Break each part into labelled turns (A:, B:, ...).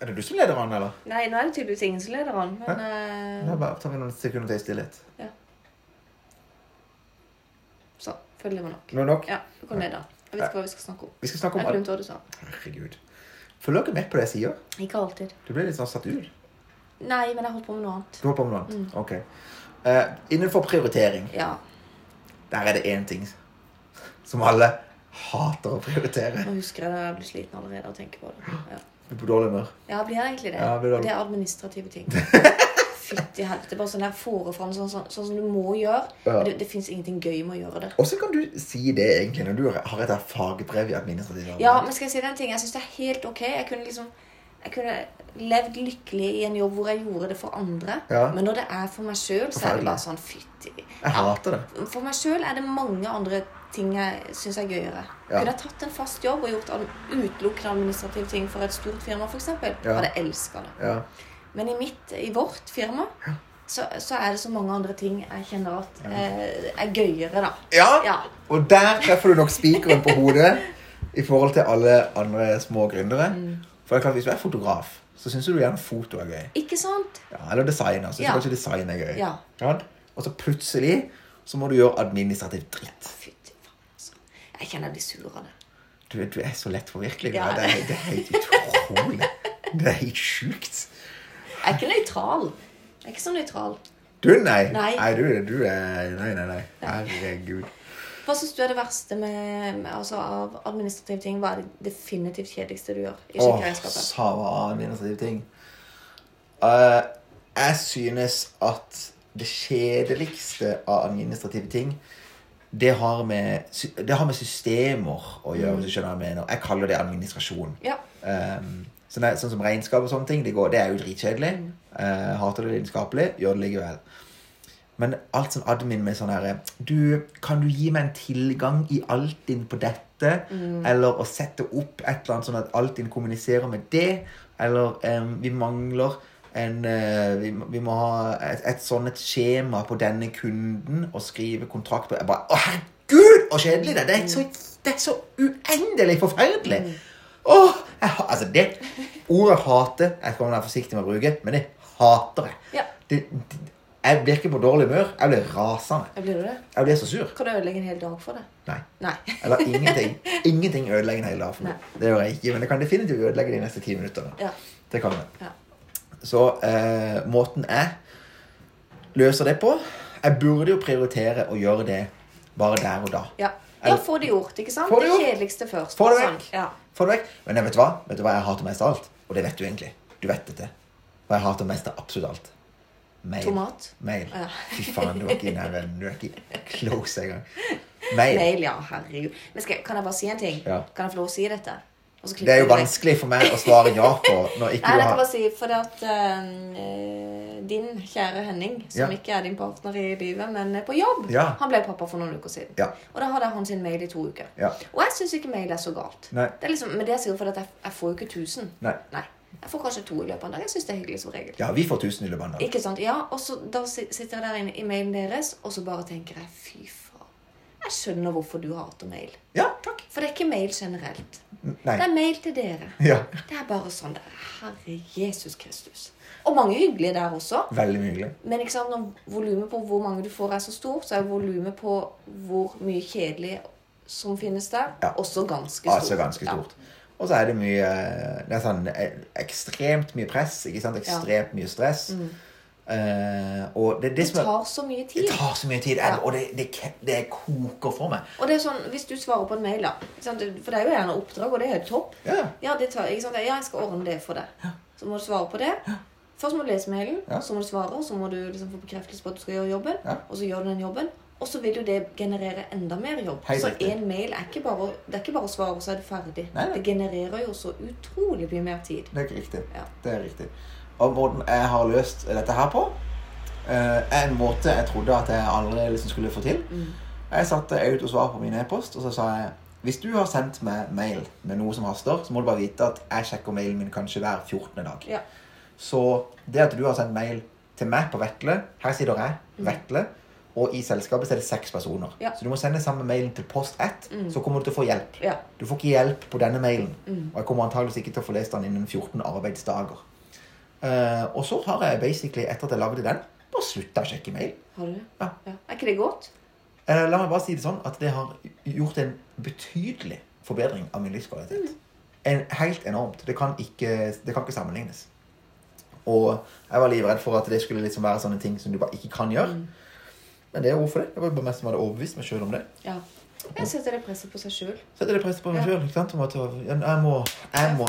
A: Er det du som leder an, eller?
B: Nei, nå er det tydeligvis ingen som leder an, men eh,
A: Da bare tar vi noen sekunder til i stillhet.
B: sånn. Følger det nok.
A: Nå er det nok.
B: Ja, vi går ned da. Jeg vet ikke hva vi skal snakke om.
A: Vi skal snakke
B: Jeg
A: om alt.
B: glemte hva du sa.
A: Herregud. Følger dere med på det jeg sier?
B: Ikke alltid.
A: Du ble litt sånn satt ut.
B: Nei, men jeg holdt på med noe annet.
A: Du holder på med noe
B: Mm.
A: annet? Ok. Eh, innenfor prioritering,
B: Ja.
A: der er det én ting som alle hater å prioritere.
B: Nå husker jeg det. Jeg blir sliten allerede av å tenke på det. Ja,
A: Du er på dårlig humør.
B: ja jeg blir egentlig det.
A: Ja, jeg blir dårlig.
B: det er administrative ting. Fytti helvete. Bare sånn der forefram, sånn, sånn, sånn som du må gjøre.
A: Ja.
B: Det, det fins ingenting gøy med å gjøre det.
A: Og så kan du si det egentlig når du har et fagbrev i administrativ arbeid.
B: Ja, men skal jeg si deg en ting? Jeg syns det er helt ok. Jeg kunne liksom jeg kunne levd lykkelig i en jobb hvor jeg gjorde det for andre.
A: Ja.
B: Men når det er for meg sjøl, så er
A: Forferdelig.
B: det bare sånn fytti
A: Jeg hater det.
B: For meg sjøl er det mange andre ting jeg syns er gøyere.
A: Ja.
B: Kunne jeg tatt en fast jobb og gjort an- utelukkende administrative ting for et stort firma, f.eks.,
A: Ja.
B: hadde jeg elska det.
A: Ja.
B: Men i mitt, i vårt firma,
A: Ja.
B: så, så er det så mange andre ting jeg kjenner at eh, er gøyere, da.
A: ja.
B: Ja.
A: Og der treffer du nok spikeren på hodet i forhold til alle andre små gründere.
B: Mm.
A: For det er klart, hvis du er fotograf, så syns du gjerne foto er gøy.
B: Ikke sant?
A: Ja, eller designer. Syns
B: Ja.
A: kanskje design er gøy.
B: Ja.
A: Sant? Og så plutselig så må du gjøre administrativ dritt.
B: Fytti faen, altså. Jeg kjenner jeg blir sur av det.
A: Du, du er så lett påvirkelig.
B: Ja.
A: Ja. Det, er- det er helt utrolig. Det er helt sjukt.
B: Jeg er ikke nøytral. Jeg er ikke så nøytral.
A: Du, nei.
B: Nei.
A: du, du er Nei, nei, nei. Herregud.
B: Hva syns du er det verste med, med altså, av administrative ting? Hva er det definitivt kjedeligste du gjør i
A: Åh,
B: sjekkeregnskapet?
A: sava administrative ting. Eh, jeg synes at det kjedeligste av administrative ting det har, med, sy- det har med systemer å gjøre, hvis du skjønner hva jeg mener. Jeg kaller det administrasjon.
B: Ja.
A: Um, sånn, er- sånn som regnskap og sånne ting, det, går, det er jo dritkjedelig. Eh, hater det lidenskapelig, gjør det likevel. Men alt sånn admin med sånn herre Du, kan du gi meg en tilgang i Altinn på dette? Eller å sette opp et eller annet sånn at Altinn kommuniserer med det? Eller em, vi mangler en eh, vi, må- vi må ha et, et sånn et skjema på denne kunden og skrive kontrakt på Jeg bare Å, herregud, så kjedelig det er! Det er så, det er så uendelig forferdelig! Åh, jeg, ha- altså det Ordet hate Jeg skal være forsiktig med å bruke, men det hater jeg.
B: Ja.
A: Det, det, jeg blir ikke på dårlig humør. Jeg blir rasende.
B: Ja, Blir du det?
A: Jeg blir så sur.
B: Kan du ødelegge en hel dag for det?
A: Nei.
B: Nei.
A: Jeg lar ingenting, ingenting ødelegge en hel dag for meg. Det gjør jeg ikke, men det kan definitivt ødelegge de neste ti minuttene.
B: Ja.
A: Det kan jeg.
B: ja.
A: Så eh, måten jeg løser det på Jeg burde jo prioritere å gjøre det bare der og da.
B: Ja, ja
A: Eller-
B: få det gjort, ikke sant?
A: Få det
B: det,
A: gjort.
B: kjedeligste først.
A: Få det
B: sånn.
A: vekk.
B: Ja.
A: Få det vekk. Men jeg vet du hva? Vet du hva jeg hater mest av alt? Og det vet du egentlig. Du vet dette. Hva jeg hater mest av absolutt alt? Mail.
B: Tomat?
A: Mail.
B: Ja.
A: Fy faen, du er ikke i nærheten. Du er ikke close engang. Mail.
B: Mail, ja. Herregud. Men skal, kan jeg bare si en ting?
A: Ja.
B: Kan jeg få lov å si dette? Og så
A: Det er jo
B: klipper du vekk.
A: vanskelig for meg å svare ja på når
B: Nei,
A: ikke du
B: jeg kan
A: har
B: bare si, for det at eh, din kjære Henning, som
A: Ja.
B: ikke er din partner i livet, men er på jobb,
A: Ja.
B: han ble pappa for noen uker siden.
A: Ja.
B: Og da hadde jeg han sin mail i to uker.
A: Ja.
B: Og jeg syns ikke mail er så galt.
A: Nei.
B: Det er liksom, men det er sikkert fordi at jeg, jeg får jo ikke 1000.
A: Nei.
B: Jeg får kanskje to i løpet av en dag. Jeg syns det er hyggelig som regel.
A: Ja, vi får tusen i løpet av en dag.
B: Ikke sant? Ja, og så da si- sitter jeg der inne i mailen deres, og så bare tenker jeg fy faen. Jeg skjønner hvorfor du hater mail.
A: Ja, takk.
B: For det er ikke mail generelt.
A: Nei.
B: Det er mail til dere.
A: Ja.
B: Det er bare sånn der. Herre Jesus Kristus. Og mange hyggelige der også.
A: Veldig mye hyggelig.
B: Men ikke sant, når volumet på hvor mange du får, er så stort, så er volumet på hvor mye kjedelig som finnes der,
A: Ja.
B: også ganske stort.
A: Altså ganske stort. Og så er det mye Det er sånn eh, ekstremt mye press, ikke sant? Ekstremt mye stress.
B: Mm.
A: Eh, og det, er det
B: Ja. Det
A: som er
B: tar så mye
A: Det
B: tid.
A: tar så mye tid,
B: Ja.
A: og det, det, det koker for meg.
B: Og det er sånn, Hvis du svarer på en mail, da ikke sant? For det er jo gjerne oppdrag, og det er helt topp.
A: Ja.
B: Ja, det tar, ikke sant? ja, jeg skal ordne det for deg. Så må du svare på det. Først må du lese mailen,
A: Ja.
B: så må du svare, og så må du liksom få bekreftelse på at du skal gjøre jobben.
A: Ja.
B: Og så gjør du den jobben, og så vil jo det generere enda mer jobb.
A: Helt
B: så
A: riktig.
B: én mail er ikke bare, det er ikke bare å svare, og så er du ferdig.
A: Nei, nei.
B: Det genererer jo så utrolig mye mer tid.
A: Det er ikke riktig.
B: Ja.
A: Det er riktig. Og måten jeg har løst dette her på, eh, er en måte jeg trodde at jeg aldri liksom skulle få til.
B: Mm.
A: Jeg satte ut og svarte på min e-post, og så sa jeg hvis du har sendt meg mail med noe som haster, så må du bare vite at jeg sjekker mailen min kanskje hver 14. dag.
B: Ja.
A: Så det at du har sendt mail til meg på Vetle Her sitter jeg, Vetle. Og i selskapet så er det seks personer.
B: Mm. Ja. Mm.
A: Så du må sende samme mailen til post 1, så kommer du til å få hjelp.
B: Ja.
A: Du får ikke hjelp på denne mailen. Og jeg kommer antageligvis ikke til å få lest den innen 14 arbeidsdager. Eh, og så har jeg basically, etter at jeg lagde den, bare slutta å sjekke mail.
B: Har du det?
A: Ja.
B: Er ikke det godt?
A: Eh, la meg bare si det sånn at det har gjort en betydelig forbedring av min livskvalitet. En, helt enormt. Det kan, ikke, det kan ikke sammenlignes. Og jeg var livredd for at det skulle liksom være sånne ting som du bare ikke kan gjøre. Men det er hvorfor det. Jeg var bare mest som hadde overbevist meg sjøl om det.
B: Ja. Jeg setter det presset på seg sjøl.
A: Så det er det presset på meg
B: Ja.
A: sjøl. Jeg må, jeg må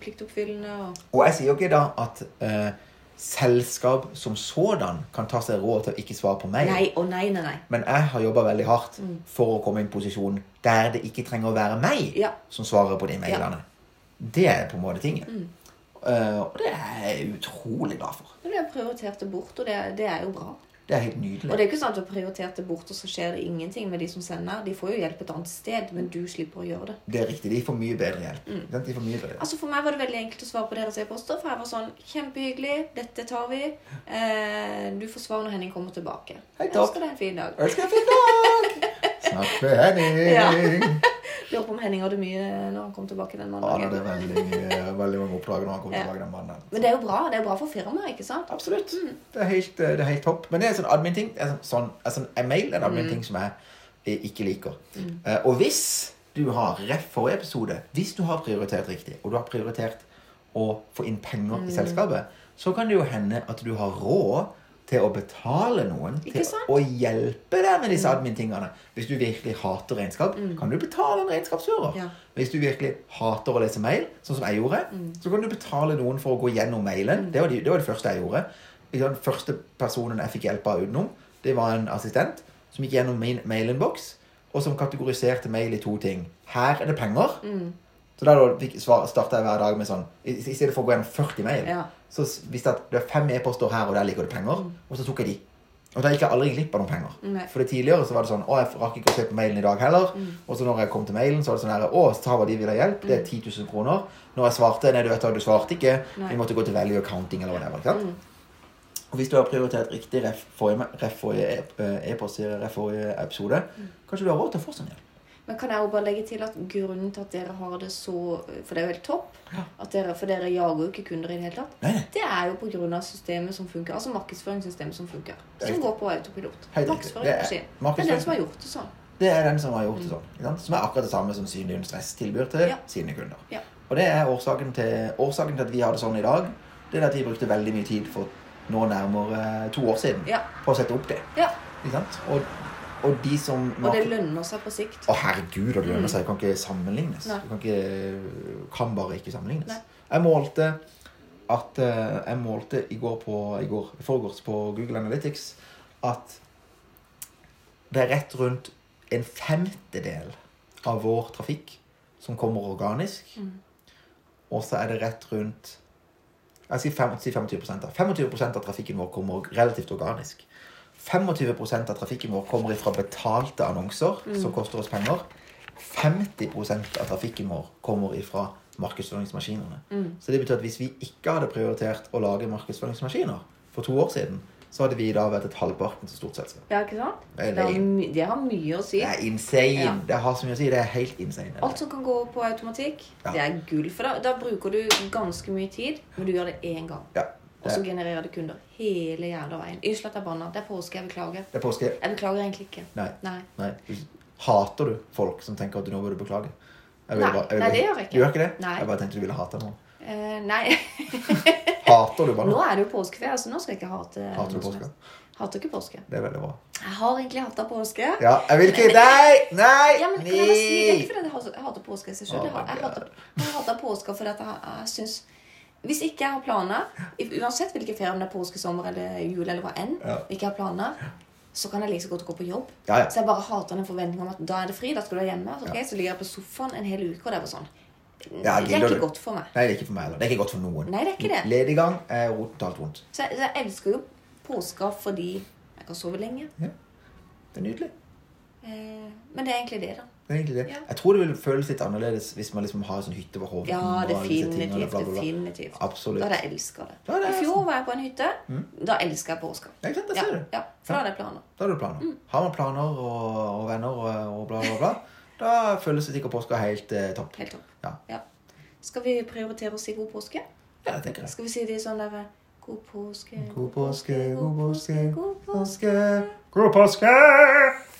B: Pliktoppfyllende og
A: Og jeg sier jo ikke da at eh, selskap som sådan kan ta seg råd til å ikke svare på mail.
B: Nei Mm. og nei, nei, nei.
A: Men jeg har jobba veldig hardt for å komme i en posisjon der det ikke trenger å være meg
B: Ja.
A: som svarer på de mailene. Det er på en måte
B: Mm.
A: tingen. Eh, og det er jeg utrolig glad for.
B: Men du har prioritert det bort, og det, det er jo bra.
A: Det er helt
B: Og
A: nydelig.
B: det er ikke sånn at du har prioritert det bort, og så skjer det ingenting med de som sender. De får jo hjelp et annet sted, men du slipper å gjøre det.
A: Det er riktig. De får mye bedre hjelp.
B: Mm.
A: Ikke sant? De får mye bedre hjelp.
B: Altså For meg var det veldig enkelt å svare på deres e-poster. For jeg var sånn Kjempehyggelig. Dette tar vi. Eh, du får svar når Henning kommer tilbake.
A: Hei,
B: Jeg
A: takk.
B: ønsker deg en fin dag.
A: Ønsker deg en fin dag! Snakk med Henning.
B: Lurer på om Henning hadde mye når han kom tilbake den
A: Ja, det er
B: mandagen.
A: veldig, mye- veldig mange oppdrag når han kommer
B: Ja.
A: tilbake den mannen.
B: Men det er jo bra. Det er bra for firmaet, ikke sant? Mm.
A: Absolutt. Det, er helt, eh, det er helt topp. Men det er en sånn admin-ting. det er Sånn, sånn, altså, en mail er en
B: Mm.
A: admin-ting som jeg eh, ikke liker. Eh, og hvis du har ref forrige episode, hvis du har prioritert riktig, og du har prioritert å få inn penger
B: Mm.
A: i selskapet, så kan det jo hende at du har råd til å betale noen
B: Ikke
A: til
B: sant?
A: å hjelpe deg med disse admin-tingene. Hvis du virkelig hater regnskap, kan du betale en regnskapsfører.
B: Mm. Ja.
A: Hvis du virkelig hater å lese mail, sånn som jeg gjorde,
B: Mm.
A: så kan du betale noen for å gå gjennom mailen. Det, var de, det var det første jeg gjorde. Ikke sant, Den første personen jeg fikk hjelp av utenom, det var en assistent som gikk gjennom min mailinnboks, og som kategoriserte mail i to ting. Her er det penger.
B: Mm.
A: Så da starta jeg hver dag med sånn I, i stedet for å gå gjennom 40 mail,
B: Ja.
A: så s- visste jeg at det er fem e-poster her, og der ligger det penger. Og så tok jeg de. Og da gikk jeg aldri glipp av noen penger.
B: Mm. Nei. Mm.
A: For det tidligere så var det sånn Å, jeg rakk ikke å se på mailen i dag heller. Og så når jeg kom til mailen, så var det sånn her Å, Sava, de vil ha hjelp. Det er 10 000 kroner. Når jeg svarte Nei, du vet da, du svarte ikke.
B: Nei. Mm.
A: Vi måtte gå til value accounting eller hva det var. Ikke sant? Og hvis du har prioritert riktig ref forrige ref forrige e- eh, e-post, sier jeg, ref forrige episode,
B: Mm.
A: kanskje du har råd til å få sånn hjelp.
B: Men kan jeg jo bare legge til at grunnen til at dere har det så For det er jo helt topp.
A: Ja.
B: At dere, for dere jager jo ikke kunder i det hele tatt.
A: Nei, nei.
B: Det er jo pga. systemet som funker. Altså markedsføringssystemet som funker.
A: Det er
B: Som
A: riktig.
B: går på autopilot.
A: Helt riktig.
B: Markedsføringsmaskin.
A: Det er-
B: Det er den som
A: markedsføring-
B: har gjort det sånn.
A: Det er den som har gjort det sånn. Ikke sant? Som er akkurat det samme som Synlig Stress tilbyr til
B: Ja.
A: sine kunder.
B: Ja.
A: Og det er årsaken til, årsaken til at vi har det sånn i dag. Det er at vi brukte veldig mye tid for nå nærmere to år siden
B: Ja.
A: på å sette opp det.
B: ja.
A: Ikke sant? Og, og de som
B: Og det lønner seg på sikt.
A: Å, herregud, og det lønner seg. Det kan ikke sammenlignes.
B: Mm. Nei.
A: Det kan, ikke, kan bare ikke sammenlignes.
B: Nei.
A: Jeg målte at eh, Jeg målte i går på I går, i forgårs på Google Analytics at det er rett rundt en femtedel av vår trafikk som kommer organisk.
B: Mm.
A: Og så er det rett rundt Jeg sier fem- si 25 da. 25 av trafikken vår kommer relativt organisk. 25 av trafikken vår kommer fra betalte annonser
B: Mm.
A: som koster oss penger. 50 av trafikken vår kommer ifra markedsføringsmaskinene.
B: Mm.
A: Så det betyr at hvis vi ikke hadde prioritert å lage markedsføringsmaskiner for to år siden, så hadde vi i dag vært et halvparten så stort selskap.
B: Ja, ikke sant?
A: Det er
B: Det har, my det har mye å si.
A: Det er insane.
B: Ja.
A: Det har så mye å si. Det er helt insane.
B: Alt som kan gå på automatikk,
A: Ja.
B: det er gull. For da, da bruker du ganske mye tid, men du gjør det én gang.
A: Ja,
B: Og så
A: det,
B: genererer det kunder hele jævla veien. Unnskyld at jeg banna. Det er påske. Jeg beklager.
A: det er påske.
B: Jeg beklager egentlig ikke.
A: Nei.
B: Nei.
A: Nei. Hater du folk som tenker at du nå burde beklage? Jeg ville
B: Nei.
A: bare- jeg
B: Nei,
A: ville-
B: det gjør jeg ikke.
A: Du gjør ikke det?
B: Nei.
A: Jeg bare tenkte du ville hate noen.
B: Eh, nei.
A: Hater du bare
B: Nå
A: noen?
B: er det jo påskeferie, så nå skal jeg ikke hate
A: Hater du
B: noe som
A: påske?
B: helst. Hater ikke påske.
A: Det er veldig bra.
B: Jeg har egentlig hata påske.
A: Ja, jeg vil ikke Nei! Nei!
B: Ja, men kan jeg bare si det er ikke fordi jeg has- jeg hater påske i seg sjøl.
A: Oh
B: Jeg har-
A: my
B: jeg hater- jeg har hatet påske fordi at jeg, jeg syns Hvis ikke jeg har planer, i- uansett hvilke ferie, om det er påske, sommer eller jul eller hva enn,
A: Ja.
B: ikke har planer, så kan jeg like så godt gå på jobb.
A: Ja, ja.
B: Så jeg bare hater den forventningen om at da er det fri, da skal du være hjemme. Så, ok, så ligger jeg på sofaen en hel uke, og det er bare sånn.
A: Ja,
B: det er
A: gidder
B: ikke
A: du?
B: godt for meg.
A: Nei, det er ikke for meg heller. Det er ikke godt for noen.
B: Nei, det er ikke det.
A: Lediggang er totalt vondt.
B: Så jeg, så jeg elsker jo påska fordi jeg kan sove lenge.
A: Det er nydelig.
B: Eh, men det er egentlig det, da.
A: Det er egentlig det.
B: Ja.
A: Jeg tror det vil føles litt annerledes hvis man liksom har en sånn hytte ved Hovden.
B: Ja,
A: og disse tingene,
B: definitivt.
A: bla, bla, bla.
B: definitivt. Da
A: Absolutt.
B: hadde jeg elska det.
A: Da hadde jeg
B: I fjor var jeg på en hytte.
A: Mm.
B: Da elska jeg påska.
A: Ja, ikke sant? Der
B: Ja, Mm.
A: ser du.
B: ja, for da hadde jeg planer.
A: Da har du planer. Har man planer og, og venner og, og bla, bla, bla, da føles det sikkert påska helt eh, topp.
B: Helt topp.
A: Ja.
B: Ja. Skal vi prioritere å si god påske?
A: ja, det tenker jeg.
B: Skal vi si det sånn der eh, God påske,
A: God påske, god påske, god
B: god påske.
A: påske. God påske!